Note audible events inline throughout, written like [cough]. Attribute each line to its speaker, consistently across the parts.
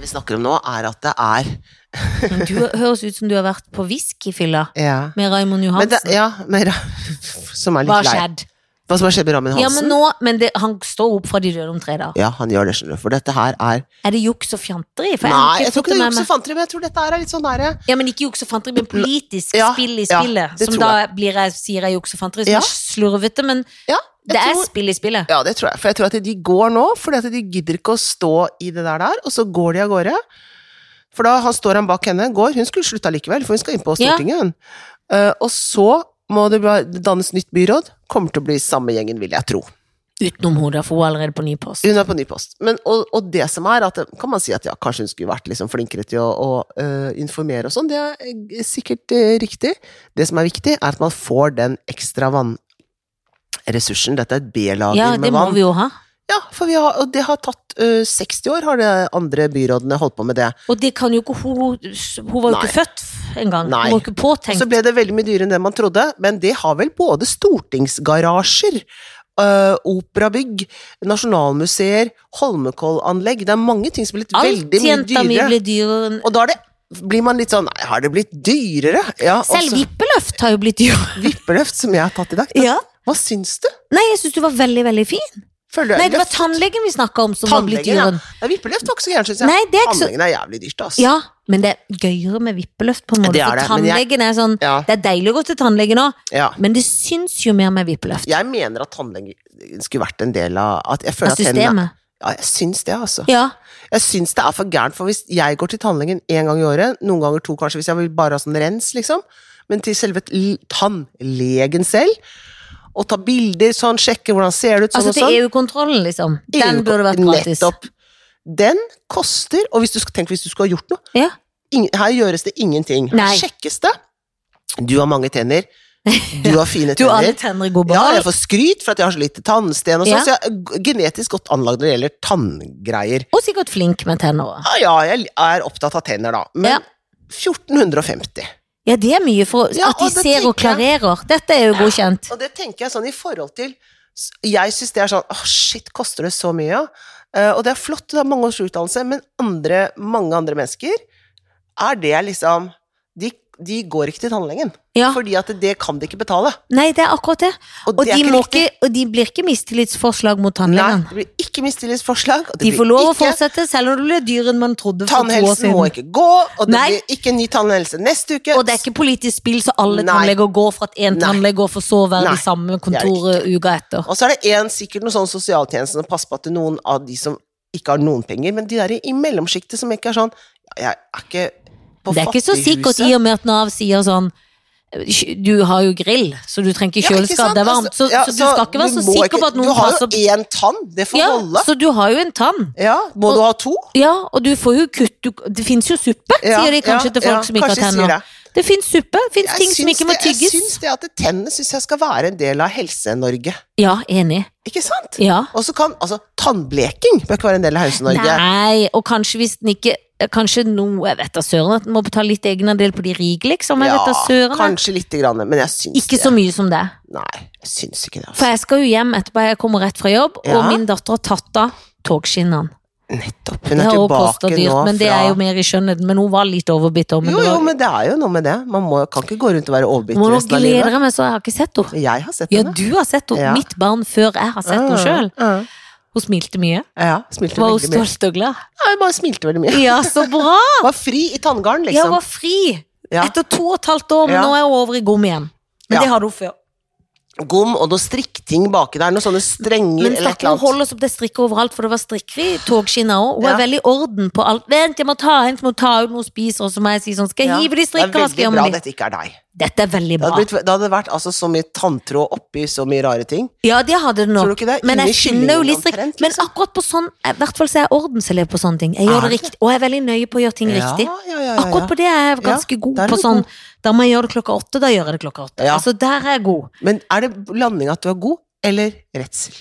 Speaker 1: vi snakker om nå, er at det er
Speaker 2: Men Du høres ut som du har vært på whiskyfylla
Speaker 1: ja.
Speaker 2: med Raymond
Speaker 1: Men
Speaker 2: Johansen.
Speaker 1: det, ja, men, Ra- [laughs] som er
Speaker 2: Hva
Speaker 1: litt
Speaker 2: har
Speaker 1: lei.
Speaker 2: skjedd?
Speaker 1: Hva som har skjedd med Ramin
Speaker 2: Ja, men
Speaker 1: Hansen? Ja,
Speaker 2: nå, men det, han står opp fra de døde om tre dager.
Speaker 1: han gjør det, skjønner du. For dette her er
Speaker 2: Er det juks og fjanteri? For har
Speaker 1: Nei, jeg tror
Speaker 2: fått
Speaker 1: ikke det er
Speaker 2: med
Speaker 1: jukse
Speaker 2: meg-
Speaker 1: fantere, men jeg tror dette her er litt sånn derre
Speaker 2: Ja, men ikke juks og fanteri, men politisk
Speaker 1: Ja,
Speaker 2: spill i
Speaker 1: ja,
Speaker 2: spillet.
Speaker 1: det
Speaker 2: som
Speaker 1: tror
Speaker 2: da blir jeg, sier jeg juks og fanteri, som
Speaker 1: Ja.
Speaker 2: er slurvete, men
Speaker 1: Ja, jeg
Speaker 2: det er
Speaker 1: tror-
Speaker 2: spill i spillet.
Speaker 1: Ja, det tror jeg. For jeg tror at de går nå, fordi at de gidder ikke å stå i det der der, og så går de av gårde. For da han står han bak henne, går. Hun skulle slutta likevel, for hun skal inn på
Speaker 2: Ja.
Speaker 1: Stortinget. hun. Eh, og så må det bare dannes nytt byråd. Kommer til å bli samme gjengen, vil jeg tro.
Speaker 2: Utenom hodet, for hun er allerede på ny post.
Speaker 1: Hun er på ny post. Men, og, og det som er, at kan man si at ja, kanskje hun skulle vært liksom flinkere til å, å eh, informere og sånn, det er eh, sikkert eh, riktig. Det som er viktig, er at man får den ekstra vannressursen. Dette er et B-lager
Speaker 2: Ja, det
Speaker 1: med
Speaker 2: må
Speaker 1: vann.
Speaker 2: vi jo ha.
Speaker 1: Ja, for vi har, og det har tatt ø, 60 år, har de andre byrådene holdt på med det.
Speaker 2: Og det kan jo ikke hun Hun var jo ikke født engang.
Speaker 1: Nei. Altså,
Speaker 2: Hun var jo ikke
Speaker 1: Og så
Speaker 2: påtenkt.
Speaker 1: ble det veldig mye dyrere enn det man trodde, men det har vel både stortingsgarasjer, ø, operabygg, nasjonalmuseer, Holmenkollanlegg Det er mange ting som blir
Speaker 2: Alt
Speaker 1: veldig mye
Speaker 2: jenta mi
Speaker 1: dyrere.
Speaker 2: ble dyrere enn
Speaker 1: Og da er det, blir man litt sånn Nei, har det blitt dyrere? Ja, altså. og
Speaker 2: Selv
Speaker 1: så
Speaker 2: vippeløft har jo blitt dyrere.
Speaker 1: [laughs] vippeløft, som jeg har tatt i dag.
Speaker 2: Ja.
Speaker 1: Hva syns du?
Speaker 2: Nei, jeg syns du var veldig, veldig fin.
Speaker 1: Føler du
Speaker 2: Nei, det var
Speaker 1: løft?
Speaker 2: tannlegen vi snakka om som var blitt
Speaker 1: Tannlegen, ja.
Speaker 2: dyrere. enn-
Speaker 1: Nei, Vippeløft var ikke så gærent, syns jeg.
Speaker 2: Nei, det er ikke så
Speaker 1: Tannlegen er jævlig dyrt, altså.
Speaker 2: Ja, men det er gøyere med vippeløft, på en måte.
Speaker 1: Det er det,
Speaker 2: For
Speaker 1: men jeg-
Speaker 2: tannlegen er sånn
Speaker 1: Ja,
Speaker 2: Det er deilig å gå til tannlegen òg,
Speaker 1: ja.
Speaker 2: men det syns jo mer med vippeløft.
Speaker 1: Jeg mener at tannlegen skulle vært en del av at jeg føler
Speaker 2: Av
Speaker 1: at hendene,
Speaker 2: systemet.
Speaker 1: ja, jeg syns det, altså.
Speaker 2: Ja.
Speaker 1: Jeg syns det er for gærent, for hvis jeg går til tannlegen én gang i året, noen ganger to kanskje, hvis jeg vil bare ha sånn rens, liksom, men til selve l- tannlegen selv, og ta bilder sånn, sjekke hvordan ser det ut, sånn
Speaker 2: Altså til
Speaker 1: og sånn.
Speaker 2: EU-kontrollen, liksom. Den
Speaker 1: EU-
Speaker 2: burde vært gratis.
Speaker 1: Nettopp. Den koster, og hvis du, skal- tenk hvis du skulle ha gjort noe,
Speaker 2: Ja.
Speaker 1: ing- her gjøres det ingenting. Her
Speaker 2: Nei.
Speaker 1: sjekkes det. Du har mange tenner, du har fine
Speaker 2: [laughs] Du, alle
Speaker 1: tenner.
Speaker 2: tenner er gode
Speaker 1: Ja,
Speaker 2: behold.
Speaker 1: jeg får skryt for at jeg har så lite tannsten og sånn,
Speaker 2: Ja.
Speaker 1: så jeg er g- genetisk godt anlagd når det gjelder tanngreier.
Speaker 2: Og sikkert flink med tenner òg.
Speaker 1: Ja, ja, jeg er opptatt av tenner, da, men
Speaker 2: Ja.
Speaker 1: 1450.
Speaker 2: Ja, det er mye for
Speaker 1: Ja,
Speaker 2: at de
Speaker 1: og det
Speaker 2: ser og
Speaker 1: tenker
Speaker 2: klarerer. Dette er jo godkjent.
Speaker 1: Og det tenker jeg sånn i forhold til s- Jeg syns det er sånn åh, shit, koster det så mye? ja?» Eh, og det er flott, det er mange års utdannelse, men andre, mange andre mennesker er det liksom De, de går ikke til tannlegen,
Speaker 2: Ja.
Speaker 1: fordi at det kan de ikke betale.
Speaker 2: Nei, det er akkurat det.
Speaker 1: Og,
Speaker 2: Og
Speaker 1: det er
Speaker 2: de,
Speaker 1: ikke
Speaker 2: må
Speaker 1: riktig.
Speaker 2: ikke, og de blir ikke mistillitsforslag mot
Speaker 1: Nei,
Speaker 2: tannlegen.
Speaker 1: det blir ikke mistillitsforslag. og det
Speaker 2: De
Speaker 1: blir
Speaker 2: får lov å
Speaker 1: ikke-
Speaker 2: fortsette, selv om det blir dyrere enn man trodde for to år
Speaker 1: Tannhelsen
Speaker 2: siden.
Speaker 1: må ikke gå, og det
Speaker 2: Nei.
Speaker 1: blir ikke en ny tannhelse neste uke.
Speaker 2: Og det er ikke politisk spill, så alle
Speaker 1: Nei.
Speaker 2: tannleger går for at én
Speaker 1: Nei.
Speaker 2: tannlege går for så å være
Speaker 1: Nei.
Speaker 2: i samme kontoret uka etter.
Speaker 1: Og så er det en, sikkert noen sånn sosialtjeneste som passer på at det er noen av de som ikke har noen penger, men de der i, i mellomsjiktet som ikke er sånn ja, Jeg er ikke på
Speaker 2: Det er ikke så sikkert i
Speaker 1: fattighuset.
Speaker 2: og med at Nav sier sånn Du har jo grill, så du trenger ikke
Speaker 1: Ja, ikke
Speaker 2: kjøleskap,
Speaker 1: sant?
Speaker 2: det er varmt. Så,
Speaker 1: Altså, ja,
Speaker 2: så du skal ikke være så
Speaker 1: må
Speaker 2: sikker
Speaker 1: ikke-
Speaker 2: på at noen passer
Speaker 1: Du har jo én tann, det får
Speaker 2: ja,
Speaker 1: holde.
Speaker 2: Så du har jo en tann.
Speaker 1: Ja, må
Speaker 2: Og-
Speaker 1: du ha to?
Speaker 2: Ja, og du får jo kutt du, Det fins jo suppe,
Speaker 1: Ja,
Speaker 2: sier de kanskje
Speaker 1: ja,
Speaker 2: til folk
Speaker 1: ja,
Speaker 2: som ikke har
Speaker 1: kanskje sier
Speaker 2: tenner.
Speaker 1: det.
Speaker 2: Det, fins suppe, det fins
Speaker 1: Jeg
Speaker 2: ting som
Speaker 1: syns
Speaker 2: ikke må
Speaker 1: det- Jeg
Speaker 2: tygges.
Speaker 1: syns det at tennene syns jeg skal være en del av Helse-Norge.
Speaker 2: Ja, enig.
Speaker 1: Ikke sant?
Speaker 2: Ja.
Speaker 1: Og så kan altså Tannbleking bør ikke være en del av Helse-Norge.
Speaker 2: Nei, og kanskje hvis den ikke Kanskje noe, jeg vet da søren, at den må betale litt egenandel på de rike, liksom. Jeg
Speaker 1: Ja,
Speaker 2: vet da søren. jeg.
Speaker 1: kanskje lite grann, men jeg syns
Speaker 2: Ikke
Speaker 1: det.
Speaker 2: så mye som det.
Speaker 1: Nei, jeg syns ikke det. Altså.
Speaker 2: For jeg skal jo hjem etterpå, jeg kommer rett fra jobb,
Speaker 1: Ja.
Speaker 2: og min datter har tatt av togskinnene.
Speaker 1: Nettopp. Hun
Speaker 2: Det
Speaker 1: er
Speaker 2: har også kosta
Speaker 1: tilbake
Speaker 2: dyrt,
Speaker 1: nå
Speaker 2: men det
Speaker 1: fra
Speaker 2: er jo mer i skjønnheten. Men hun var litt overbitt òg, men
Speaker 1: Jo,
Speaker 2: det
Speaker 1: jo,
Speaker 2: var
Speaker 1: men det er jo noe med det. Man må, kan ikke gå rundt og være overbitt
Speaker 2: Må nå
Speaker 1: resten av
Speaker 2: gleder
Speaker 1: livet.
Speaker 2: jeg meg så, jeg har ikke sett henne.
Speaker 1: Jeg har sett
Speaker 2: Ja,
Speaker 1: henne.
Speaker 2: du har sett henne.
Speaker 1: Ja.
Speaker 2: Mitt barn før jeg har sett henne sjøl.
Speaker 1: Ja,
Speaker 2: Hun smilte mye.
Speaker 1: ja. ja, smilte
Speaker 2: Var hun
Speaker 1: veldig mye.
Speaker 2: stolt og glad?
Speaker 1: Ja, hun bare smilte veldig mye.
Speaker 2: Ja, så bra!
Speaker 1: [laughs] Var fri i tanngarden,
Speaker 2: Ja,
Speaker 1: liksom.
Speaker 2: hun var fri
Speaker 1: Ja.
Speaker 2: etter to og et halvt år, men
Speaker 1: Ja.
Speaker 2: nå er hun over i gom igjen. Men
Speaker 1: Ja.
Speaker 2: det hadde hun før.
Speaker 1: Gom og noe strikkting baki der, noen sånne strenger
Speaker 2: Men
Speaker 1: eller et
Speaker 2: stakkar,
Speaker 1: eller
Speaker 2: hun
Speaker 1: annet.
Speaker 2: holder oss opp, det er strikker overalt, for det var strikker i togskinna òg. Hun
Speaker 1: Ja.
Speaker 2: er veldig i orden på alt. Vent, jeg må ta en, så må hun ta ut noe hun spiser, og så må jeg si sånn, skal jeg
Speaker 1: Ja.
Speaker 2: hive de
Speaker 1: Det er veldig
Speaker 2: strikkevasken
Speaker 1: bra
Speaker 2: min?
Speaker 1: dette ikke er deg.
Speaker 2: Dette er veldig
Speaker 1: Det
Speaker 2: bra.
Speaker 1: hadde, blitt, det hadde vært altså, så mye tanntråd oppi så mye rare ting.
Speaker 2: Ja, det hadde det
Speaker 1: Tror du
Speaker 2: nok.
Speaker 1: ikke det?
Speaker 2: Men
Speaker 1: Inni
Speaker 2: jeg finner jo
Speaker 1: kyllingen
Speaker 2: litt strikk.
Speaker 1: omtrent,
Speaker 2: Men
Speaker 1: liksom.
Speaker 2: akkurat på sånn, i hvert fall så er jeg ordenselev på sånne ting. Jeg
Speaker 1: Er
Speaker 2: gjør det
Speaker 1: det?
Speaker 2: riktig, og jeg er veldig nøye på å gjøre ting riktig.
Speaker 1: Ja, ja, ja, ja, ja.
Speaker 2: Akkurat på det er jeg
Speaker 1: Ja,
Speaker 2: ganske god
Speaker 1: der er
Speaker 2: på
Speaker 1: du
Speaker 2: sånn
Speaker 1: god.
Speaker 2: Da må jeg gjøre det klokka åtte, da gjør jeg det klokka åtte.
Speaker 1: Ja.
Speaker 2: Altså, der er jeg god.
Speaker 1: Men er det landing at du er god, eller redsel?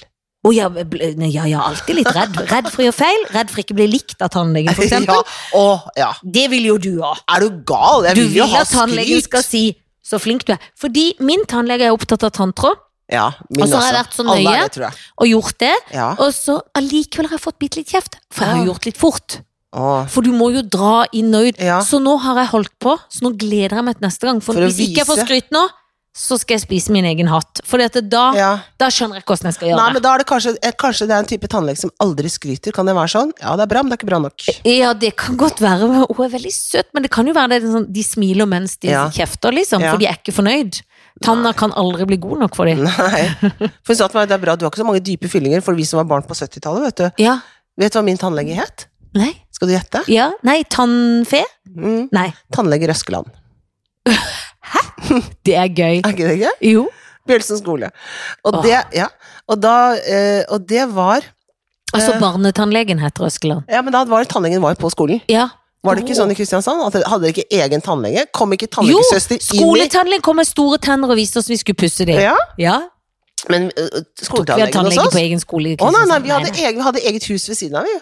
Speaker 2: Og jeg, ble- nei, ja, jeg er alltid litt redd. Redd for å gjøre feil, redd for ikke å bli likt av tannlegen, for
Speaker 1: [laughs] Ja,
Speaker 2: eksempel.
Speaker 1: å, ja.
Speaker 2: Det vil jo du òg.
Speaker 1: Er du gal? Jeg
Speaker 2: Du
Speaker 1: vil jo
Speaker 2: vil
Speaker 1: ha
Speaker 2: at tannlegen skal
Speaker 1: skryt.
Speaker 2: si 'så flink du er'. Fordi min tannlege er opptatt av tanntråd,
Speaker 1: Ja, min
Speaker 2: Og så
Speaker 1: også.
Speaker 2: har jeg vært så
Speaker 1: Alle
Speaker 2: nøye.
Speaker 1: er det, tror jeg.
Speaker 2: og gjort det.
Speaker 1: Ja.
Speaker 2: Og så allikevel har jeg fått bitte litt kjeft, for jeg har
Speaker 1: Ah. Ja.
Speaker 2: jo gjort litt fort.
Speaker 1: Åh,
Speaker 2: For du må jo dra i nøyd.
Speaker 1: Ja.
Speaker 2: Så nå har jeg holdt på, så nå gleder jeg meg til neste gang. For,
Speaker 1: For å
Speaker 2: hvis ikke jeg får
Speaker 1: vise.
Speaker 2: skryt nå, så skal jeg spise min egen hatt. For dette, da,
Speaker 1: ja.
Speaker 2: da skjønner jeg ikke hvordan jeg skal gjøre
Speaker 1: Nei, men da er det kanskje, eh, kanskje det er en type tannlege som aldri skryter. Kan det være sånn? Ja, det er bra, men det er ikke bra nok.
Speaker 2: det. Ja, det kan godt være. men Hun er veldig søt, men det kan jo være det, er sånn, de smiler mens de
Speaker 1: Ja.
Speaker 2: kjefter, liksom.
Speaker 1: Ja.
Speaker 2: For de er ikke fornøyd. Tanna kan aldri bli god nok for dem.
Speaker 1: [laughs] Nei. For hun sa til meg det er bra, du har ikke så mange dype fyllinger for vi som var barn på 70-tallet, vet du.
Speaker 2: Ja.
Speaker 1: Vet du hva min tannlege het?
Speaker 2: Nei.
Speaker 1: Skal du gjette?
Speaker 2: Ja. Nei, tannfe?
Speaker 1: Mm.
Speaker 2: Nei.
Speaker 1: Tannlege Røskeland.
Speaker 2: Det er gøy.
Speaker 1: Er ikke det gøy?
Speaker 2: Jo.
Speaker 1: Bjølsen skole. Og
Speaker 2: Åh.
Speaker 1: det, ja. Og da, eh, og det var
Speaker 2: Altså,
Speaker 1: Eh.
Speaker 2: barnetannlegen heter Øskeland.
Speaker 1: Ja, men da var tannlegen var på skolen.
Speaker 2: Ja.
Speaker 1: Var det ikke sånn i Kristiansand? At dere hadde dere ikke egen tannlege? Kom ikke
Speaker 2: Jo,
Speaker 1: tannlegesøster inn i
Speaker 2: skoletannlegen kom med store tenner og viste oss vi skulle pusse dem.
Speaker 1: ja,
Speaker 2: ja.
Speaker 1: men øh,
Speaker 2: Tok vi hadde
Speaker 1: skoletannlegen hos
Speaker 2: tannlege
Speaker 1: oss?
Speaker 2: på egen skole? i
Speaker 1: Å nei, nei,
Speaker 2: Kristiansand?
Speaker 1: vi hadde, eget, vi hadde eget hus ved siden av, vi.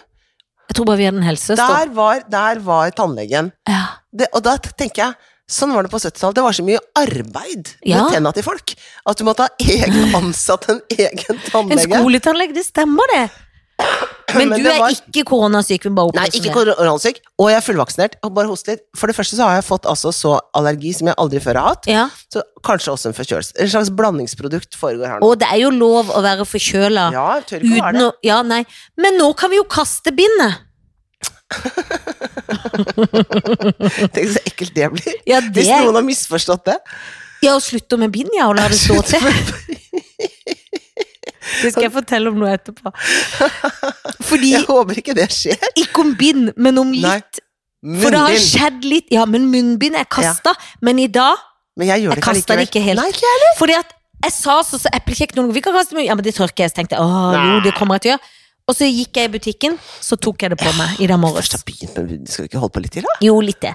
Speaker 2: Jeg tror bare vi hadde en helsesøster.
Speaker 1: Der var, der var tannlegen.
Speaker 2: Ja.
Speaker 1: Det, og da tenker jeg, sånn var det på 70-tallet. Det var så mye arbeid
Speaker 2: Ja.
Speaker 1: med tenna til folk at du måtte ha
Speaker 2: [laughs]
Speaker 1: egen ansatt en egen
Speaker 2: En
Speaker 1: tannlege.
Speaker 2: skoletannlege, det stemmer
Speaker 1: [laughs]
Speaker 2: det! Men,
Speaker 1: Men
Speaker 2: du
Speaker 1: det
Speaker 2: er
Speaker 1: var-
Speaker 2: ikke koronasyk, vi bare
Speaker 1: Nei,
Speaker 2: opplyser
Speaker 1: ikke
Speaker 2: det.
Speaker 1: koronasyk, og jeg er fullvaksinert. Og bare hoste litt. For det første så har jeg fått altså så allergi som jeg aldri før har hatt.
Speaker 2: Ja.
Speaker 1: Så kanskje også en forkjølelse. En slags blandingsprodukt foregår her nå.
Speaker 2: Og det er jo lov å være forkjøla.
Speaker 1: Ja, jeg tør ikke å være
Speaker 2: Uten
Speaker 1: det.
Speaker 2: å Ja, nei. Men nå kan vi jo kaste bindet!
Speaker 1: [laughs] Tenk så ekkelt det blir.
Speaker 2: Ja, det
Speaker 1: Hvis noen har misforstått det.
Speaker 2: Ja, og slutte med bind, ja, og la det stå
Speaker 1: [laughs]
Speaker 2: til. Det skal jeg fortelle om noe
Speaker 1: [laughs]
Speaker 2: etterpå. Fordi
Speaker 1: Jeg håper ikke det skjer.
Speaker 2: Ikke om bind, men om
Speaker 1: Nei,
Speaker 2: litt. For det har
Speaker 1: Munnbind.
Speaker 2: skjedd litt Ja, men munnbind er kasta. Men i dag
Speaker 1: Men jeg gjør det
Speaker 2: Jeg kastet det ikke helt.
Speaker 1: Nei, ikke jeg heller.
Speaker 2: Fordi at jeg sa så, så eplekjekk noen ganger Vi kan kaste munnbind. Ja, men det tørker jeg. Så tenkte jeg åh,
Speaker 1: Nei.
Speaker 2: jo, det kommer jeg til å gjøre. Og så gikk jeg i butikken, så tok jeg det på meg i dag morges.
Speaker 1: Først har begynt med munnbind, skal vi ikke holde på litt til, da?
Speaker 2: Jo, litt det.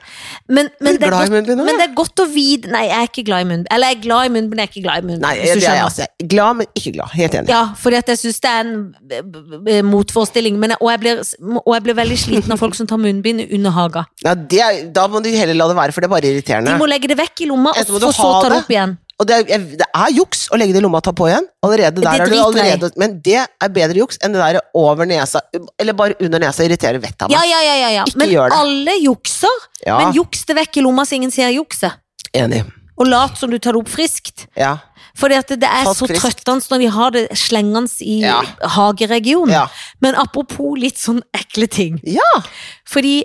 Speaker 2: Men, men,
Speaker 1: Men,
Speaker 2: det
Speaker 1: glad
Speaker 2: er
Speaker 1: i
Speaker 2: godt,
Speaker 1: munnbind nå?
Speaker 2: men
Speaker 1: ja.
Speaker 2: det er godt å vite Nei, jeg er ikke glad i munnbind. Eller jeg er glad i munnbind, men jeg er ikke glad i munnbind.
Speaker 1: Nei, det
Speaker 2: hvis du
Speaker 1: er jeg
Speaker 2: skjønner.
Speaker 1: altså. Glad, men ikke glad. Helt enig.
Speaker 2: Ja, fordi at jeg syns det er en eh, b- b- motforestilling. Men jeg, og, jeg blir, og jeg blir veldig sliten av folk som tar munnbind under haga.
Speaker 1: Ja, det er, da må du heller la det være, for det er bare irriterende.
Speaker 2: De må legge det vekk i lomma, og
Speaker 1: Enten må du
Speaker 2: for så
Speaker 1: ha
Speaker 2: ta det
Speaker 1: det.
Speaker 2: opp igjen.
Speaker 1: Og det er, jeg- det er juks å legge det i lomma og ta på igjen. Allerede der er du
Speaker 2: driter jeg i.
Speaker 1: allerede Men det er bedre juks enn det der over nesa, eller bare under nesa, irriterer vettet av meg.
Speaker 2: Ja, ja, ja, ja, ja.
Speaker 1: Ikke
Speaker 2: Men
Speaker 1: gjør det.
Speaker 2: alle jukser.
Speaker 1: Ja,
Speaker 2: Men juks det vekk i lomma så ingen ser jukset.
Speaker 1: enig.
Speaker 2: Og lat som du tar det opp friskt.
Speaker 1: Ja.
Speaker 2: Fordi at det er
Speaker 1: Fast
Speaker 2: så
Speaker 1: friskt.
Speaker 2: trøttende når de har det slengende i
Speaker 1: Ja.
Speaker 2: hageregionen.
Speaker 1: Ja.
Speaker 2: Men apropos litt sånn ekle ting.
Speaker 1: ja.
Speaker 2: Fordi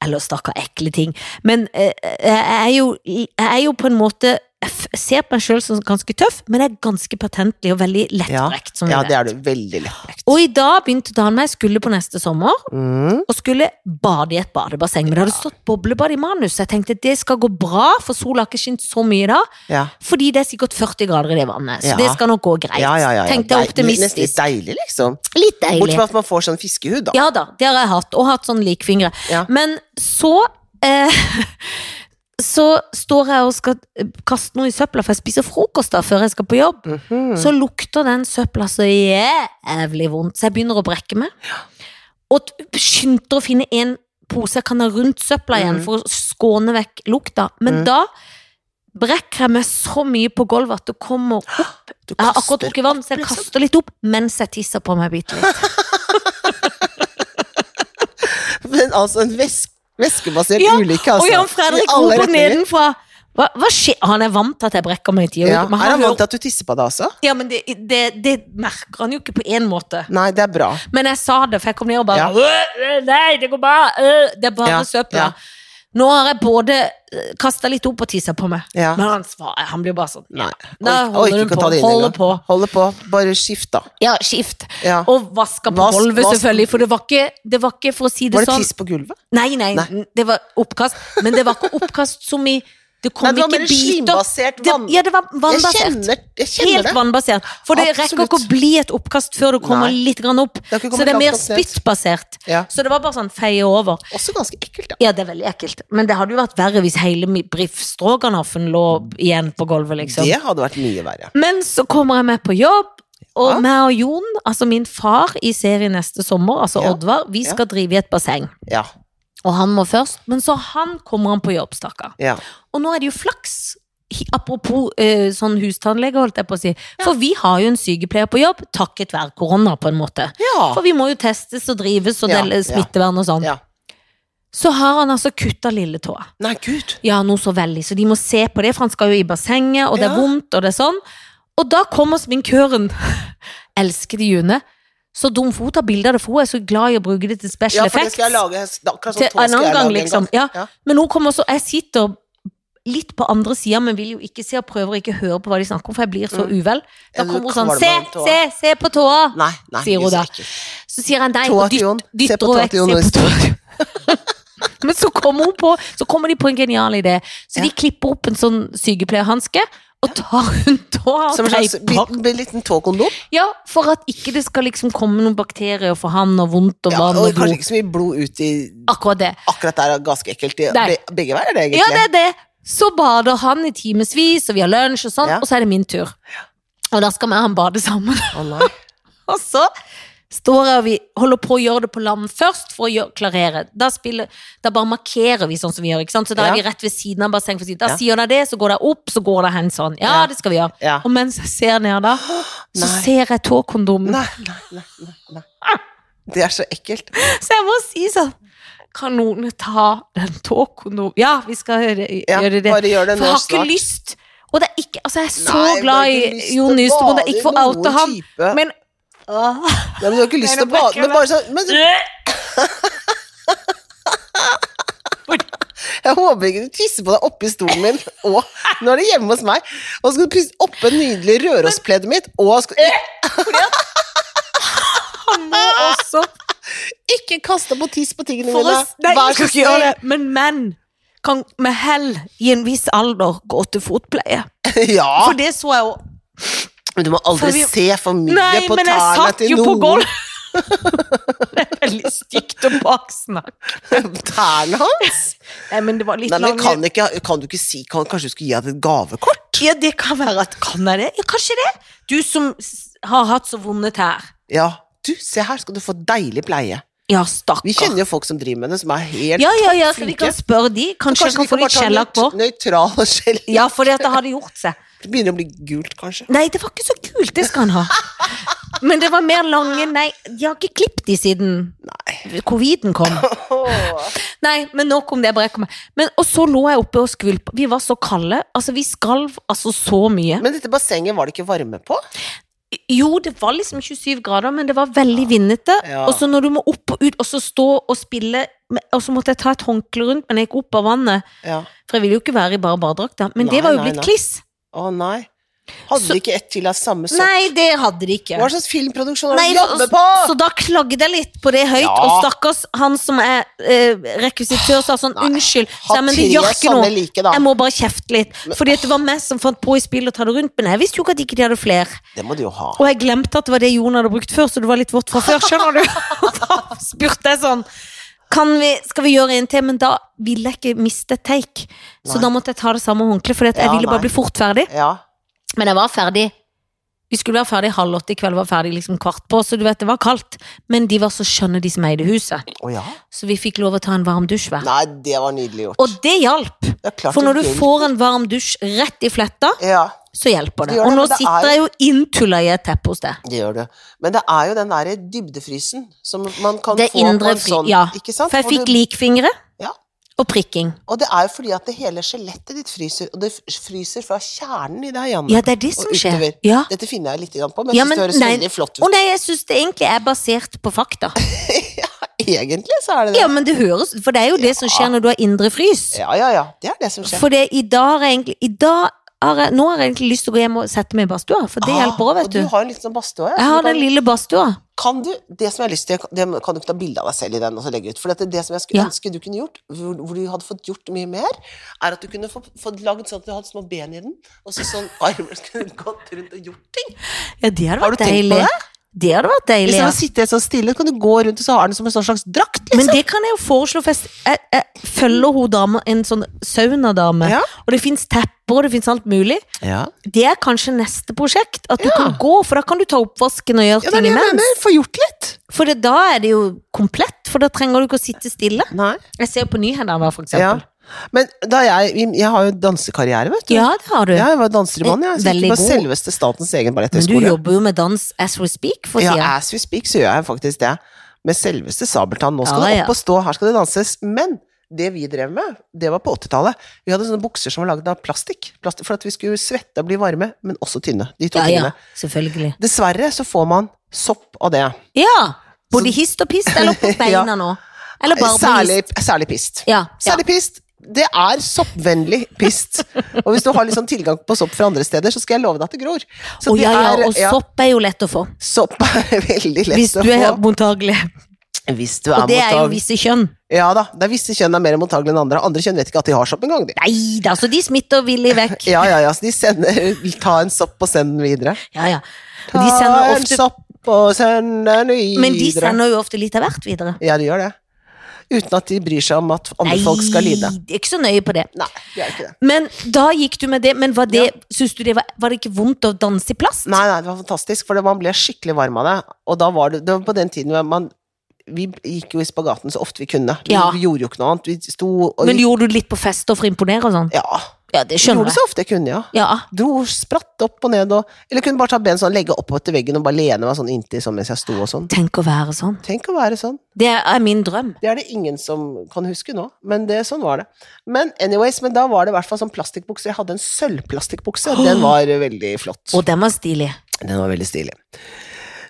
Speaker 2: Eller stakkar ekle ting. Men eh, jeg, er jo, jeg er jo på en måte Jeg f- ser på meg sjøl som ganske tøff, men jeg er ganske patentlig og veldig lettbrekt. som vi
Speaker 1: ja,
Speaker 2: vet.
Speaker 1: det er du. Veldig lettbrekt.
Speaker 2: Og i dag begynte dagen med jeg skulle på neste sommer,
Speaker 1: Mm.
Speaker 2: og skulle bade i et badebasseng. Men det hadde stått boblebad i manus, så jeg tenkte det skal gå bra, for sola har ikke skint så mye da.
Speaker 1: Ja.
Speaker 2: Fordi det er sikkert 40 grader i det vannet, så
Speaker 1: Ja.
Speaker 2: det skal nok gå greit.
Speaker 1: Ja, ja, ja, ja.
Speaker 2: Tenkte
Speaker 1: Deil- Nesten
Speaker 2: jeg
Speaker 1: litt
Speaker 2: optimistisk.
Speaker 1: deilig, liksom.
Speaker 2: Litt
Speaker 1: Bortsett
Speaker 2: deilig.
Speaker 1: fra at man får sånn fiskehud, da.
Speaker 2: Ja da, det har jeg hatt, og hatt sånn likfingre.
Speaker 1: Ja.
Speaker 2: Men så eh, [laughs] Så står jeg og skal eh, kaste noe i søpla, for jeg spiser frokost da før jeg skal på jobb.
Speaker 1: Mhm.
Speaker 2: Så lukter den søpla så jævlig vondt, så jeg begynner å brekke meg. Og t- skynder å finne en pose jeg kan ha rundt søpla igjen,
Speaker 1: Mhm.
Speaker 2: for å skåne vekk lukta. Men
Speaker 1: Mhm.
Speaker 2: da brekker jeg meg så mye på gulvet at det kommer opp
Speaker 1: Du
Speaker 2: Jeg har akkurat
Speaker 1: kaster
Speaker 2: drukket vann, så jeg
Speaker 1: liksom.
Speaker 2: kaster litt opp mens jeg tisser på meg bitte litt.
Speaker 1: [laughs] Men altså, en væsk, væskebasert
Speaker 2: Ja,
Speaker 1: ulykke, altså.
Speaker 2: Og Jan Fredrik
Speaker 1: I alle
Speaker 2: roper
Speaker 1: retninger.
Speaker 2: nedenfra hva, hva skjer? Ah, Han er vant til at jeg brekker meg i tida.
Speaker 1: Ja.
Speaker 2: men
Speaker 1: Er han
Speaker 2: hører-
Speaker 1: vant til at du tisser på deg også?
Speaker 2: ja, men det, det, det merker han jo ikke på én måte.
Speaker 1: Nei, det er bra.
Speaker 2: Men jeg sa det, for jeg kom ned og bare «Øh, øh, Nei, det går bra! øh, det er bare
Speaker 1: Ja,
Speaker 2: søpla.
Speaker 1: ja.
Speaker 2: Nå har jeg både kasta litt opp og tissa på meg.
Speaker 1: Ja.
Speaker 2: Men han svarer, han blir bare sånn
Speaker 1: Nei.
Speaker 2: Da
Speaker 1: Ork-
Speaker 2: holder
Speaker 1: orker
Speaker 2: hun
Speaker 1: ikke å
Speaker 2: på.
Speaker 1: ta det inn
Speaker 2: Holder
Speaker 1: engang.
Speaker 2: på.
Speaker 1: Holder på. Bare skift, da.
Speaker 2: Ja, skift.
Speaker 1: Ja.
Speaker 2: Og vaska på
Speaker 1: Vask,
Speaker 2: gulvet,
Speaker 1: vask.
Speaker 2: selvfølgelig. For det var ikke, det var ikke for å si det,
Speaker 1: Var det
Speaker 2: sånn
Speaker 1: tiss på gulvet?
Speaker 2: nei, nei, det var oppkast. Men det var ikke oppkast som i Det kom
Speaker 1: Nei, det var
Speaker 2: ikke
Speaker 1: mer
Speaker 2: biter.
Speaker 1: slimbasert
Speaker 2: Det,
Speaker 1: vann.
Speaker 2: ja, det var
Speaker 1: Jeg
Speaker 2: vannbasert.
Speaker 1: kjenner, jeg kjenner
Speaker 2: Helt
Speaker 1: det.
Speaker 2: vannbasert. For det rekker ikke
Speaker 1: Absolutt.
Speaker 2: å bli et oppkast før det kommer
Speaker 1: Nei.
Speaker 2: litt grann opp.
Speaker 1: har ikke kommet
Speaker 2: Så det er
Speaker 1: langt
Speaker 2: mer
Speaker 1: nok ned.
Speaker 2: spyttbasert.
Speaker 1: Ja.
Speaker 2: Så det var bare sånn feie over.
Speaker 1: Også ganske ekkelt, da.
Speaker 2: Ja, det er veldig ekkelt. Men det hadde jo vært verre hvis hele mi- Briff Stroganoffen lå igjen på gulvet, liksom.
Speaker 1: Det hadde vært mye verre.
Speaker 2: Men så kommer jeg med på jobb, og
Speaker 1: Ja.
Speaker 2: meg og Jon, altså min far i serien neste sommer, altså
Speaker 1: Ja.
Speaker 2: Oddvar, vi skal drive i et basseng.
Speaker 1: Ja.
Speaker 2: Og han må først, men så han kommer han på jobb, stakkar.
Speaker 1: ja.
Speaker 2: Og nå er det jo flaks, hi- apropos eh, sånn hustannlege, holdt jeg på å si. For vi har jo en sykepleier på jobb, takket være korona, på en måte.
Speaker 1: ja.
Speaker 2: For vi må jo testes og drives og
Speaker 1: Ja,
Speaker 2: dele
Speaker 1: ja.
Speaker 2: smittevern og sånn.
Speaker 1: Ja.
Speaker 2: så har han altså kutta lilletåa.
Speaker 1: Nei, gud!
Speaker 2: Ja, noe så veldig, så de må se på det, for han skal jo i bassenget, og det er
Speaker 1: Ja.
Speaker 2: vondt, og det er sånn. Og da kommer sminkøren, [laughs] elskede June, så dum for hun tar bilder av det, for hun er så glad i å bruke det til
Speaker 1: Ja, for
Speaker 2: special
Speaker 1: det
Speaker 2: effects.
Speaker 1: skal jeg lage. Akkurat sånn
Speaker 2: Til
Speaker 1: tå
Speaker 2: en
Speaker 1: skal
Speaker 2: annen
Speaker 1: jeg
Speaker 2: gang,
Speaker 1: lage en
Speaker 2: liksom.
Speaker 1: gang.
Speaker 2: Ja.
Speaker 1: Ja.
Speaker 2: Men hun kommer også, jeg sitter litt på andre sida, men vil jo ikke se og prøver ikke å høre på hva de snakker om, for jeg blir så
Speaker 1: Mm.
Speaker 2: uvel.
Speaker 1: Ja,
Speaker 2: Da
Speaker 1: du
Speaker 2: kommer hun sånn,
Speaker 1: kvalmer
Speaker 2: se,
Speaker 1: om tåa."
Speaker 2: se, se på tåa!
Speaker 1: Nei, nei,
Speaker 2: Sier hun
Speaker 1: Gud, så
Speaker 2: da.
Speaker 1: ekkelt.
Speaker 2: Så sier han nei,
Speaker 1: Tåa
Speaker 2: og
Speaker 1: til Jon.
Speaker 2: dytt,
Speaker 1: Se
Speaker 2: dytter
Speaker 1: på
Speaker 2: hun
Speaker 1: tåa
Speaker 2: vekk.
Speaker 1: til Jon
Speaker 2: Se
Speaker 1: hvis
Speaker 2: på tåa til Jon. [laughs] Men så kommer hun på Så kommer de på en genial idé. Så de
Speaker 1: Ja.
Speaker 2: klipper opp en sånn sykepleierhanske og tar hun tåa
Speaker 1: Som
Speaker 2: og
Speaker 1: en slags
Speaker 2: teiper den.
Speaker 1: bit- liten tåkondom.
Speaker 2: Ja, for at ikke det skal liksom komme noen bakterier for han, og vondt og
Speaker 1: Ja,
Speaker 2: vann
Speaker 1: og
Speaker 2: og
Speaker 1: kanskje
Speaker 2: blod.
Speaker 1: ikke så mye blod ut i
Speaker 2: Akkurat det.
Speaker 1: Akkurat der er ganske ekkelt. i-
Speaker 2: Nei.
Speaker 1: Be, begge veier, er det, egentlig.
Speaker 2: Ja, det er det. Så bader han i timevis, og vi har lunsj og sånn,
Speaker 1: Ja.
Speaker 2: og så er det min tur. Og da skal vi og han bade sammen.
Speaker 1: Å, nei.
Speaker 2: [laughs] Og så står jeg og vi holder på å gjøre det på land først for å gjøre, klarere. Da, spiller, da bare markerer vi sånn som vi gjør, ikke sant? Så da
Speaker 1: Ja.
Speaker 2: er vi rett ved siden av bassenget. for å si, Da
Speaker 1: Ja.
Speaker 2: sier dere det, så går dere opp, så går dere hen sånn. Ja,
Speaker 1: Ja.
Speaker 2: det skal vi gjøre.
Speaker 1: Ja.
Speaker 2: Og mens jeg ser
Speaker 1: [gasps]
Speaker 2: ned da, så
Speaker 1: Nei.
Speaker 2: ser jeg tåkondomen.
Speaker 1: Nei, nei, nei, nei, nei. Det er så ekkelt.
Speaker 2: Så jeg må si sånn, kan noen ta den tåkondomen? Ja, vi skal gjøre,
Speaker 1: Ja,
Speaker 2: gjøre det.
Speaker 1: Bare gjør det
Speaker 2: For
Speaker 1: nå
Speaker 2: jeg har ikke
Speaker 1: snart.
Speaker 2: lyst. Og det er ikke, altså jeg er
Speaker 1: Nei, men
Speaker 2: så
Speaker 1: du har
Speaker 2: glad
Speaker 1: ikke lyst
Speaker 2: i Jon
Speaker 1: til å
Speaker 2: Nystrøm, og det
Speaker 1: bade
Speaker 2: er
Speaker 1: i
Speaker 2: ikke for å oute
Speaker 1: noen
Speaker 2: ham.
Speaker 1: type-
Speaker 2: Men... Åh.
Speaker 1: Nei, men du har ikke lyst
Speaker 2: Nei,
Speaker 1: til å
Speaker 2: nå
Speaker 1: bade
Speaker 2: brekker
Speaker 1: men
Speaker 2: jeg
Speaker 1: bare sånn, men, Jeg håper ikke du tisser på deg oppi stolen min, og nå er det hjemme hos meg. Og så skal du pisse oppå det nydelige Rørospledd mitt, og skal,
Speaker 2: Han må også
Speaker 1: ikke kaste på tiss på tingene
Speaker 2: for
Speaker 1: mine.
Speaker 2: oss, nei,
Speaker 1: Vær
Speaker 2: vi skal
Speaker 1: så
Speaker 2: ikke gjøre
Speaker 1: snill.
Speaker 2: det. Men menn kan med hell i en viss alder gå til fotpleie.
Speaker 1: Ja,
Speaker 2: For det så jeg jo.
Speaker 1: men du må
Speaker 2: for
Speaker 1: aldri
Speaker 2: vi-
Speaker 1: se for mye
Speaker 2: Nei,
Speaker 1: på
Speaker 2: men jeg
Speaker 1: tærne
Speaker 2: satt
Speaker 1: til
Speaker 2: jo på
Speaker 1: noen.
Speaker 2: gulvet. det er veldig stygt å baksnakke.
Speaker 1: [laughs] Tærne hans?
Speaker 2: Nei, men det var litt
Speaker 1: Nei, men
Speaker 2: langt.
Speaker 1: kan, ikke, kan du ikke si kan, Kanskje du skulle gi ham et gavekort?
Speaker 2: Ja, det kan være at Kan jeg det? Ja, kanskje det. Du som s- har hatt så vonde tær.
Speaker 1: Ja. Du, se her, skal du få deilig pleie.
Speaker 2: Ja, stakkar.
Speaker 1: Vi kjenner jo folk som driver med det, som er helt
Speaker 2: Ah. ja, ja, ja, så vi
Speaker 1: flinke.
Speaker 2: kan spørre de. Kanskje, jeg
Speaker 1: de
Speaker 2: kan få litt
Speaker 1: bare ta en
Speaker 2: skjellakk på.
Speaker 1: nøyt- Nøytral skjell.
Speaker 2: Ja, for det at det hadde gjort seg.
Speaker 1: Det begynner å bli gult, kanskje.
Speaker 2: Nei, det var ikke så kult, det skal han ha. Men det var mer lange Nei, de har ikke klippet de siden
Speaker 1: Nei.
Speaker 2: coviden kom. Nei, men nok om det. bare jeg kommer. Men, og så lå jeg oppe og skvulpa. Vi var så kalde. Altså, vi skalv altså så mye.
Speaker 1: Men dette bassenget var det ikke varme på?
Speaker 2: Jo, det var liksom 27 grader, men det var veldig vindete.
Speaker 1: Ja.
Speaker 2: Og så når du må opp og ut, og så stå og spille med- Og så måtte jeg ta et håndkle rundt, men jeg gikk opp av vannet.
Speaker 1: Ja.
Speaker 2: For jeg ville jo ikke være i bare badedrakta. Men
Speaker 1: Nei,
Speaker 2: det var jo
Speaker 1: nei,
Speaker 2: blitt
Speaker 1: nei.
Speaker 2: kliss.
Speaker 1: Å nei. Hadde
Speaker 2: Så-
Speaker 1: de ikke ett til av samme sort?
Speaker 2: Nei, det hadde de ikke.
Speaker 1: Hva slags filmproduksjon har
Speaker 2: Nei,
Speaker 1: du jobbet
Speaker 2: så,
Speaker 1: på?
Speaker 2: så da klagde jeg litt på det høyt,
Speaker 1: Ja.
Speaker 2: og stakkars han som er eh, rekvisitør sa sånn
Speaker 1: Nei,
Speaker 2: unnskyld,
Speaker 1: Ha
Speaker 2: sa, jeg, men det gjør ikke
Speaker 1: sånne
Speaker 2: noe,
Speaker 1: like, da.
Speaker 2: jeg må bare kjefte litt. Fordi at det var meg som fant på i spillet å ta det rundt, men jeg visste jo ikke at ikke de hadde flere.
Speaker 1: Det må du jo ha.
Speaker 2: Og jeg glemte at det var det Jon hadde brukt før, så det var litt vått fra før, skjønner du.
Speaker 1: [laughs]
Speaker 2: Og da spurte jeg sånn, kan vi, skal vi gjøre en til, men da ville jeg ikke miste et take. Så
Speaker 1: Nei.
Speaker 2: da måtte jeg ta det samme håndkle, fordi at jeg
Speaker 1: Ja,
Speaker 2: ville
Speaker 1: nei.
Speaker 2: bare bli fort ferdig.
Speaker 1: Ja.
Speaker 2: Men jeg var ferdig Vi skulle være ferdig halv åtte i kveld Var ferdig liksom kvart på Så du vet det var kaldt Men de var så skjønne de som eide huset
Speaker 1: Å ja.
Speaker 2: Så vi fikk lov å ta en varm dusj hver
Speaker 1: Nei, det var nydelig gjort.
Speaker 2: Og det hjalp
Speaker 1: Det er klart
Speaker 2: For når
Speaker 1: det
Speaker 2: du
Speaker 1: vil.
Speaker 2: får en varm dusj rett i fletta
Speaker 1: Ja,
Speaker 2: Så hjelper
Speaker 1: Det
Speaker 2: det
Speaker 1: gjør det,
Speaker 2: Og nå
Speaker 1: men det er-
Speaker 2: sitter jeg jo inntullet i et teppe hos deg
Speaker 1: det gjør du. Men det er jo den derre dybdefrysen som man kan
Speaker 2: Det
Speaker 1: få på
Speaker 2: indre
Speaker 1: en
Speaker 2: fri-
Speaker 1: sånn.
Speaker 2: ja.
Speaker 1: Ikke sant?
Speaker 2: For jeg
Speaker 1: Hvor
Speaker 2: fikk
Speaker 1: du-
Speaker 2: likfingre
Speaker 1: Ja.
Speaker 2: Og prikking
Speaker 1: Og det er jo fordi at det hele skjelettet ditt fryser, og det f- fryser fra kjernen i deg, Janne.
Speaker 2: Ja, det er det som
Speaker 1: Og
Speaker 2: skjer
Speaker 1: utover.
Speaker 2: Ja
Speaker 1: Dette finner jeg litt grann på, men,
Speaker 2: Ja,
Speaker 1: jeg synes
Speaker 2: men
Speaker 1: det høres
Speaker 2: nei.
Speaker 1: veldig flott [laughs]
Speaker 2: Å
Speaker 1: ut.
Speaker 2: nei, jeg synes det egentlig er basert på fakta
Speaker 1: Egentlig så er det det.
Speaker 2: Ja, men det høres For det er jo det som skjer når du har indre frys
Speaker 1: Ja, ja, ja. Det er det som skjer.
Speaker 2: For det, i dag har jeg egentlig i dag har jeg, Nå har jeg egentlig lyst til å gå hjem og sette meg i badstua, for det
Speaker 1: Ah,
Speaker 2: hjelper òg,
Speaker 1: og
Speaker 2: vet du.
Speaker 1: Du har en liten sånn badstue.
Speaker 2: Jeg har den lille badstua.
Speaker 1: Kan du, det som jeg har lyst til, det må- kan du ikke ta bilde av deg selv i den og så legge ut, for dette, det som jeg skulle
Speaker 2: Ja.
Speaker 1: ønske du kunne gjort, hvor, hvor du hadde fått gjort mye mer, er at du kunne få- fått laget sånn at du hadde små ben i den, og så sånn [laughs] armer som kunne gått rundt og gjort ting.
Speaker 2: Ja, det hadde
Speaker 1: Har du
Speaker 2: vært
Speaker 1: tenkt på
Speaker 2: deilig. Det hadde vært deilig.
Speaker 1: Hvis
Speaker 2: Ja.
Speaker 1: han sitter sånn stille, kan du gå rundt og så har den som en sånn slags drakt, liksom.
Speaker 2: Men det kan jeg jo foreslå, for jeg, jeg, jeg følger hun dama, en sånn saunadame,
Speaker 1: Ja.
Speaker 2: og det fins tepper, og det fins alt mulig.
Speaker 1: liksom. Ja,
Speaker 2: Det er kanskje neste prosjekt, at du kan gå, for da kan du ta oppvasken og gjøre
Speaker 1: ja det er
Speaker 2: ting
Speaker 1: det jeg
Speaker 2: imens.
Speaker 1: mener. Få gjort litt.
Speaker 2: For det, da er det jo komplett, for da trenger du ikke å sitte stille.
Speaker 1: Nei.
Speaker 2: Jeg ser jo på nyhetene hver, for
Speaker 1: Ja.
Speaker 2: eksempel.
Speaker 1: Men da jeg, jeg har jo dansekarriere, vet du.
Speaker 2: Ja, det har du.
Speaker 1: Ja, jeg var danser i bånn, jeg. Så
Speaker 2: Veldig
Speaker 1: ikke på
Speaker 2: god.
Speaker 1: selveste statens egen
Speaker 2: Men du
Speaker 1: balletthøgskole.
Speaker 2: jobber jo med dans as we speak, for å si
Speaker 1: Ja,
Speaker 2: det.
Speaker 1: as we speak så gjør jeg faktisk det. med selveste Sabeltann. Nå skal
Speaker 2: Ja,
Speaker 1: det
Speaker 2: ja.
Speaker 1: opp og stå, her skal det danses. Men det vi drev med, det var på 80-tallet. Vi hadde sånne bukser som var lagd av plastikk, plastikk, for at vi skulle svette og bli varme, men også tynne. De to
Speaker 2: Ja, ja,
Speaker 1: tingene.
Speaker 2: selvfølgelig.
Speaker 1: Dessverre så får man sopp av det.
Speaker 2: Ja! Både hist og pist,
Speaker 1: [laughs]
Speaker 2: eller på
Speaker 1: Ja.
Speaker 2: beina nå? Eller bare på
Speaker 1: Særlig,
Speaker 2: hist?
Speaker 1: særlig pist.
Speaker 2: Ja, ja.
Speaker 1: Særlig pist. Det er soppvennlig pist. og hvis du har litt sånn tilgang på sopp fra andre steder, så skal jeg love deg at det gror. Så
Speaker 2: Å,
Speaker 1: det
Speaker 2: ja, ja,
Speaker 1: er-
Speaker 2: og sopp er jo lett å få.
Speaker 1: Sopp er veldig [laughs] lett
Speaker 2: Hvis
Speaker 1: å
Speaker 2: du er
Speaker 1: få.
Speaker 2: mottagelig.
Speaker 1: Hvis du
Speaker 2: Og
Speaker 1: er
Speaker 2: det er jo
Speaker 1: mottagelig.
Speaker 2: visse kjønn.
Speaker 1: Ja da, det er visse kjønn er mer mottagelige enn andre. Andre kjønn vet ikke at de har sopp engang. de.
Speaker 2: Nei da, så de smitter villig
Speaker 1: [laughs]
Speaker 2: vekk.
Speaker 1: Ja, ja, ja, så de sender [laughs] Ta en sopp og send den videre.
Speaker 2: Ja, ja. Og de sender
Speaker 1: Ta en
Speaker 2: ofte,
Speaker 1: sopp og send den videre.
Speaker 2: men de sender jo ofte litt av hvert videre.
Speaker 1: Ja, de gjør det. Uten at de bryr seg om at andre
Speaker 2: Nei,
Speaker 1: folk skal lide.
Speaker 2: de er ikke så nøye på det.
Speaker 1: Nei, de er ikke det.
Speaker 2: Men da gikk du med det, men var det, synes du det var, var det ikke vondt å danse i plast?
Speaker 1: Nei, nei, det var fantastisk, for det- man ble skikkelig varm av det. Og da var det, det var på den tiden hvor man Vi gikk jo i spagaten så ofte vi kunne. Vi
Speaker 2: Ja.
Speaker 1: gjorde jo ikke noe annet. Vi sto og
Speaker 2: Men gjorde du litt på fester for å imponere og sånn?
Speaker 1: Ja.
Speaker 2: Ja, det
Speaker 1: Gjorde sånn.
Speaker 2: skjønner
Speaker 1: det
Speaker 2: jeg.
Speaker 1: så ofte jeg kunne, ja.
Speaker 2: Ja,
Speaker 1: Dro spratt opp og ned og Eller kunne bare ta ben sånn, legge opp etter veggen og bare lene meg sånn inntil sånn mens jeg sto og sånn.
Speaker 2: tenk å være sånn.
Speaker 1: Tenk å være sånn.
Speaker 2: Det er min drøm.
Speaker 1: Det er det ingen som kan huske nå, men det, sånn var det. Men anyways, men da var det i hvert fall sånn plastikkbukse. Jeg hadde en sølvplastikkbukse, og den var veldig flott.
Speaker 2: Og den var stilig.
Speaker 1: Den var veldig stilig.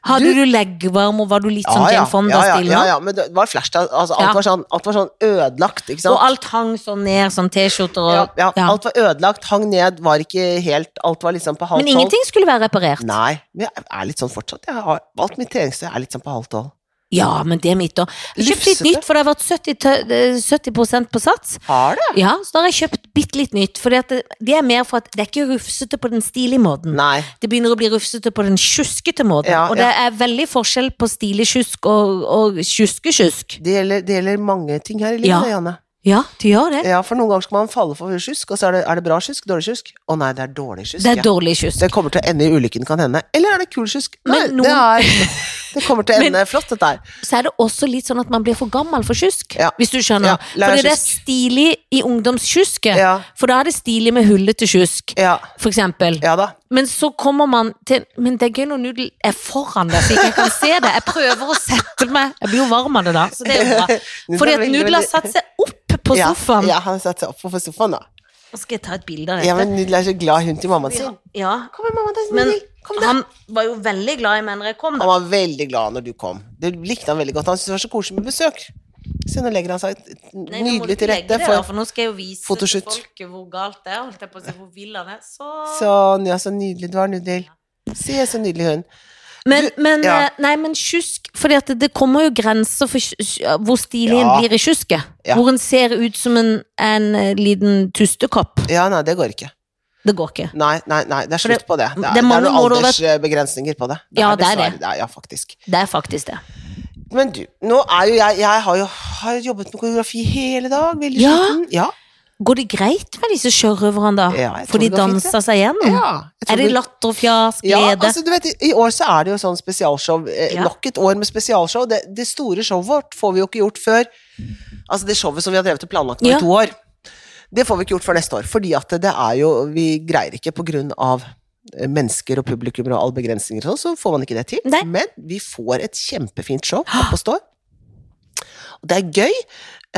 Speaker 2: Hadde du leggevarm, og var du litt sånn Jane
Speaker 1: ja,
Speaker 2: Fonda-stil? nå?
Speaker 1: ja, ja, men det var flash, altså, alt,
Speaker 2: Ja.
Speaker 1: var sånn, alt var sånn ødelagt, ikke
Speaker 2: Og
Speaker 1: sant?
Speaker 2: alt hang sånn ned, sånn T-skjorter og
Speaker 1: ja, ja,
Speaker 2: ja.
Speaker 1: alt var ødelagt, hang ned, var ikke helt, alt var liksom på halv
Speaker 2: Men
Speaker 1: tolv.
Speaker 2: ingenting skulle være reparert.
Speaker 1: Nei, men jeg er litt sånn fortsatt, jeg har valgt mitt treningstøy, jeg er litt sånn på halv tolv.
Speaker 2: Ja, men det er mitt òg. Jeg kjøpte litt
Speaker 1: Lufsete.
Speaker 2: nytt, for det har vært 70, tø- eh, 70 på sats.
Speaker 1: Har det?
Speaker 2: Ja, så da har jeg kjøpt bitte litt nytt. For det, det er mer for at det er ikke rufsete på den stilige måten.
Speaker 1: Nei,
Speaker 2: Det begynner å bli rufsete på den tjuskete måten.
Speaker 1: Ja,
Speaker 2: og det er veldig forskjell på stilig tjusk og, og tjusketjusk.
Speaker 1: det gjelder, det gjelder mange ting her i livet,
Speaker 2: Ja.
Speaker 1: det, Janne.
Speaker 2: Ja, det gjør det.
Speaker 1: Ja, for noen ganger skal man falle for sjusk, og så er det, er det bra sjusk, dårlig sjusk? Å nei, det er dårlig sjusk.
Speaker 2: Det er
Speaker 1: ja.
Speaker 2: dårlig tjusk.
Speaker 1: Det kommer til å ende i ulykken kan hende. Eller er det kul sjusk? Nei,
Speaker 2: Men noen-
Speaker 1: det, er, det kommer til å
Speaker 2: [laughs] Men-
Speaker 1: ende flott, dette her.
Speaker 2: Så er det også litt sånn at man blir for gammel for tjusk.
Speaker 1: Ja.
Speaker 2: Hvis du skjønner.
Speaker 1: Ja, lær
Speaker 2: Fordi det er
Speaker 1: tjusk.
Speaker 2: stilig i ungdomstjusket.
Speaker 1: Ja,
Speaker 2: For da er det stilig med hullete tjusk,
Speaker 1: ja,
Speaker 2: for eksempel.
Speaker 1: ja da.
Speaker 2: Men så kommer man til Men det er gøy når nudel er foran deg, så ikke jeg kan se det. Jeg prøver å sette meg Jeg blir jo varm av det, da. Så det er jo
Speaker 1: [laughs]
Speaker 2: bra. Fordi at nudel har satt seg opp på sofaen.
Speaker 1: Ja, ja han satte seg opp på sofaen, da.
Speaker 2: Nå skal jeg ta et bilde av
Speaker 1: Ja,
Speaker 2: dette.
Speaker 1: men Nudel er så glad hund til mammaen sin.
Speaker 2: Ja,
Speaker 1: Kom her, mamma, det er
Speaker 2: men
Speaker 1: Nudel. Kom da.
Speaker 2: han var jo veldig glad i meg når jeg kom.
Speaker 1: Han
Speaker 2: da
Speaker 1: var veldig glad når du kom. Det likte han veldig godt. Han syntes det var så koselig med besøk. Se, nå legger han seg
Speaker 2: Nei, nå må du
Speaker 1: nydelig
Speaker 2: ikke
Speaker 1: til
Speaker 2: legge
Speaker 1: rette
Speaker 2: det der,
Speaker 1: for
Speaker 2: for nå skal jeg jo vise
Speaker 1: fotoshoot.
Speaker 2: til folket hvor galt det er. Holdt jeg på å si hvor vill han er. Så,
Speaker 1: Sånn, ja, så nydelig du var, Nudel. Se, så nydelig hun.
Speaker 2: Men, men,
Speaker 1: ja.
Speaker 2: eh, nei, men kjusk Fordi at det, det kommer jo grenser for kjus- hvor stilig en
Speaker 1: Ja.
Speaker 2: blir i kjusket.
Speaker 1: Ja.
Speaker 2: Hvor en ser ut som en, en eh, liten tustekopp.
Speaker 1: Ja, nei, det går ikke.
Speaker 2: Det går ikke.
Speaker 1: Nei, nei, nei, det er
Speaker 2: det-
Speaker 1: slutt på det. Det er,
Speaker 2: det
Speaker 1: det
Speaker 2: er
Speaker 1: er
Speaker 2: mange
Speaker 1: noen
Speaker 2: måter å
Speaker 1: aldersbegrensninger på det.
Speaker 2: Ja, det er
Speaker 1: dessverre-
Speaker 2: det.
Speaker 1: Ja, faktisk.
Speaker 2: Det er faktisk det.
Speaker 1: Men du, nå er jo jeg Jeg har jo har jobbet med koreografi hele dag. Veldig
Speaker 2: Ja.
Speaker 1: sliten. Ja.
Speaker 2: Går det greit med disse sjørøverne, da?
Speaker 1: Ja, jeg tror
Speaker 2: For de
Speaker 1: det går fint,
Speaker 2: danser seg gjennom?
Speaker 1: ja. jeg tror
Speaker 2: Er det
Speaker 1: du-
Speaker 2: latter og fjas, glede?
Speaker 1: Ja, altså du vet, I år så er det jo sånn spesialshow. eh,
Speaker 2: Ja.
Speaker 1: Nok et år med spesialshow. Det, det store showet vårt får vi jo ikke gjort før Altså det showet som vi har drevet og planlagt nå
Speaker 2: Ja.
Speaker 1: i to år. Det får vi ikke gjort før neste år, fordi at det er jo Vi greier ikke på grunn av eh, mennesker og publikum og alle begrensninger og sånn, så får man ikke det til.
Speaker 2: Nei.
Speaker 1: Men vi får et kjempefint show opp og står. Og det er gøy.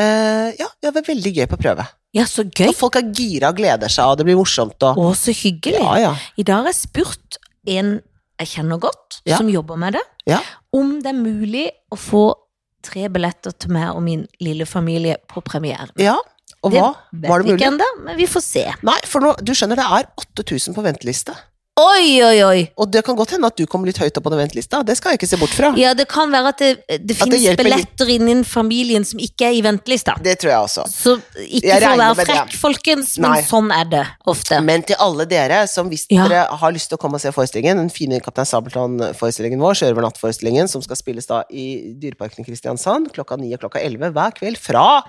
Speaker 1: Eh, ja, det var veldig gøy på prøve.
Speaker 2: ja, så gøy.
Speaker 1: Og folk er gira og gleder seg, og det blir morsomt og
Speaker 2: Å, så hyggelig.
Speaker 1: Ja, ja.
Speaker 2: I dag har jeg spurt en jeg kjenner godt,
Speaker 1: Ja.
Speaker 2: som jobber med det,
Speaker 1: Ja.
Speaker 2: om det er mulig å få tre billetter til meg og min lille familie på premieren.
Speaker 1: ja. Og
Speaker 2: Det
Speaker 1: hva?
Speaker 2: vet
Speaker 1: Var det
Speaker 2: vi
Speaker 1: mulig?
Speaker 2: ikke ennå, men vi får se.
Speaker 1: Nei, for nå, du skjønner det er 8000 på venteliste.
Speaker 2: Oi, oi, oi!
Speaker 1: Og det kan godt hende at du kommer litt høyt opp på den ventelista. Det skal jeg ikke se bort fra.
Speaker 2: Ja, det kan være at det, det
Speaker 1: At det
Speaker 2: finnes
Speaker 1: hjelper litt.
Speaker 2: billetter innen familien som ikke er i ventelista.
Speaker 1: Det tror jeg også.
Speaker 2: Så ikke
Speaker 1: Jeg
Speaker 2: for å
Speaker 1: regner
Speaker 2: være
Speaker 1: med det.
Speaker 2: frekk, folkens, men
Speaker 1: Nei.
Speaker 2: sånn er det ofte.
Speaker 1: Men til alle dere som hvis
Speaker 2: Ja.
Speaker 1: dere har lyst til å komme og se forestillingen, den fine Kaptein Sabeltann-forestillingen vår, Sjørøvernatt-forestillingen, som skal spilles da i Dyreparken i Kristiansand klokka 9 og klokka 11 hver kveld fra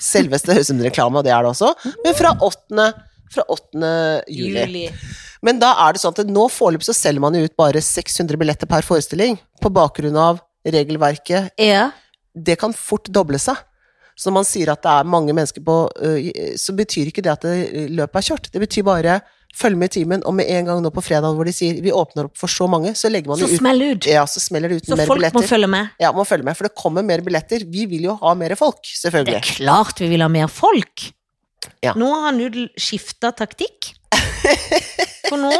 Speaker 1: selveste Husum-reklame, og det er det også, men fra 8. Fra 8. juli. Men da er det sånn at nå foreløpig så selger man jo ut bare 600 billetter per forestilling, på bakgrunn av regelverket
Speaker 2: Ja.
Speaker 1: det kan fort doble seg. Så når man sier at det er mange mennesker på øh, i- Så betyr ikke det at det, øh, løpet er kjørt. Det betyr bare Følg med i timen, og med en gang nå på fredag hvor de sier vi åpner opp for så mange, så legger man
Speaker 2: Så
Speaker 1: det ut.
Speaker 2: smell ut.
Speaker 1: Ja, så smeller det ut
Speaker 2: Så
Speaker 1: mer
Speaker 2: folk må
Speaker 1: billetter.
Speaker 2: følge med.
Speaker 1: Ja, må følge med, for det kommer mer billetter. Vi vil jo ha mer folk,
Speaker 2: Det er
Speaker 1: selvfølgelig.
Speaker 2: klart vi vil ha mer folk.
Speaker 1: Ja.
Speaker 2: Nå har Nudel
Speaker 1: [laughs]
Speaker 2: skifta taktikk. For nå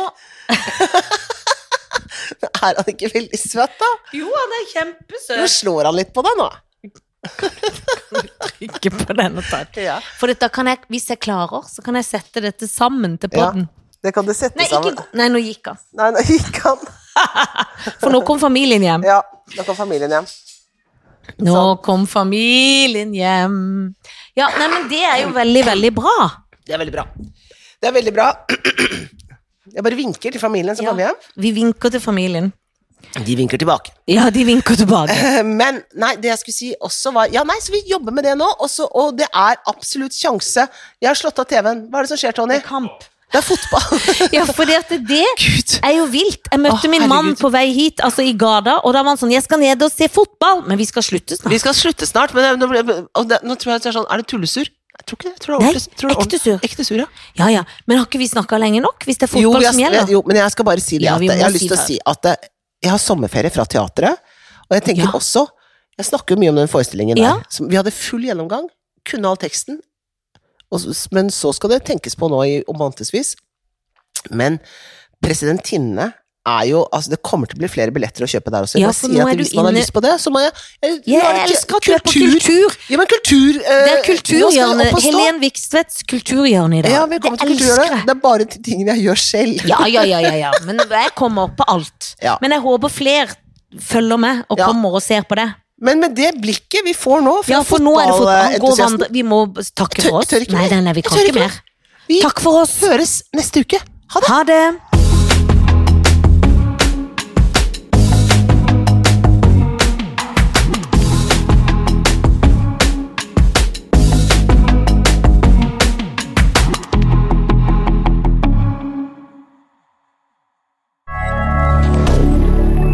Speaker 1: [laughs] Er han ikke veldig søt, da?
Speaker 2: Jo, han er
Speaker 1: Nå
Speaker 2: kjempesøt.
Speaker 1: slår han litt på deg nå.
Speaker 2: Ikke på denne takk. For da kan jeg, hvis jeg klarer, så kan jeg sette dette sammen til
Speaker 1: Ja,
Speaker 2: podden.
Speaker 1: Det kan du sette
Speaker 2: nei, ikke,
Speaker 1: sammen.
Speaker 2: gå- nei, nå gikk han.
Speaker 1: Nei, nå gikk han.
Speaker 2: For nå kom familien
Speaker 1: [laughs]
Speaker 2: hjem.
Speaker 1: Ja, da kan familien hjem.
Speaker 2: Nå
Speaker 1: sånn.
Speaker 2: kom familien hjem. Ja, nei, men det er jo veldig, veldig bra.
Speaker 1: Det er veldig bra. Det er veldig bra. Jeg bare vinker til familien som
Speaker 2: Ja.
Speaker 1: kommer hjem.
Speaker 2: Vi vinker til familien.
Speaker 1: De vinker tilbake.
Speaker 2: Ja, de vinker tilbake.
Speaker 1: [laughs] Eh, Men nei, det jeg skulle si også var Ja, nei, så vi jobber med det nå, og så- og det er absolutt sjanse. Jeg har slått av TV-en. Hva er det som skjer, Tony?
Speaker 2: Kamp.
Speaker 1: Det er fotball.
Speaker 2: Ja, for det at det
Speaker 1: [laughs] Gud.
Speaker 2: er jo vilt. Jeg møtte
Speaker 1: Å,
Speaker 2: min mann
Speaker 1: herregud.
Speaker 2: på vei hit, altså i gata, og da var han sånn 'Jeg skal ned og se fotball', men vi skal slutte snart.
Speaker 1: Vi skal slutte snart, men jeg- nå, ble- og det, nå tror jeg at det er sånn Er det tullesur? Jeg tror ikke det. Jeg tror det er
Speaker 2: Nei,
Speaker 1: ordentlig- tror det er
Speaker 2: ekte sur.
Speaker 1: ordentlig- Ekte sur, ja.
Speaker 2: Ja, ja. Men har ikke vi snakka lenge nok? Hvis det er
Speaker 1: Jo,
Speaker 2: fotball
Speaker 1: jeg-
Speaker 2: som gjelder?
Speaker 1: Jo, men jeg skal bare si det.
Speaker 2: Ja,
Speaker 1: at
Speaker 2: vi må
Speaker 1: jeg har
Speaker 2: si
Speaker 1: lyst til å
Speaker 2: det.
Speaker 1: si at eh, jeg har sommerferie fra teatret, og jeg tenker
Speaker 2: Ja.
Speaker 1: også Jeg snakker jo mye om den forestillingen der.
Speaker 2: Ja.
Speaker 1: som- Vi hadde full gjennomgang, kunne all teksten, og, s- men så skal det tenkes på nå i månedsvis. Men presidentinne er jo Altså, det kommer til å bli flere billetter å kjøpe der også. Jeg
Speaker 2: Ja,
Speaker 1: bare
Speaker 2: for
Speaker 1: sier
Speaker 2: nå
Speaker 1: at
Speaker 2: er du
Speaker 1: hvis man har
Speaker 2: inne-
Speaker 1: lyst på det, så må jeg Jeg, nå er
Speaker 2: Jeg
Speaker 1: det ikke-
Speaker 2: elsker at du er på kultur!
Speaker 1: Ja, men kultur eh,
Speaker 2: Det er
Speaker 1: nå skal det
Speaker 2: kulturhjørnet.
Speaker 1: opp og stå.
Speaker 2: Helen Vikstvedts kulturhjørne i dag.
Speaker 1: Ja, velkommen
Speaker 2: Det
Speaker 1: til kulturhjørnet.
Speaker 2: elsker jeg.
Speaker 1: Det er bare tingene jeg gjør selv.
Speaker 2: Ja, ja, ja, ja, ja. Men jeg kommer opp på alt.
Speaker 1: Ja.
Speaker 2: Men jeg håper flere følger med og
Speaker 1: Ja.
Speaker 2: kommer og ser på det.
Speaker 1: Men med det blikket vi får nå fra
Speaker 2: Ja, for nå er det fotball. Han går
Speaker 1: fotballentusiasten
Speaker 2: vandre. Vi må takke
Speaker 1: Tør-
Speaker 2: for oss.
Speaker 1: tør ikke
Speaker 2: Nei,
Speaker 1: mer.
Speaker 2: nei, nei, vi
Speaker 1: Jeg
Speaker 2: kan
Speaker 1: tør
Speaker 2: ikke
Speaker 1: ikke
Speaker 2: mer.
Speaker 1: Vi
Speaker 2: Takk for oss.
Speaker 1: høres neste uke. Ha det!
Speaker 2: Ha det.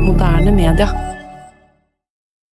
Speaker 3: Moderne media.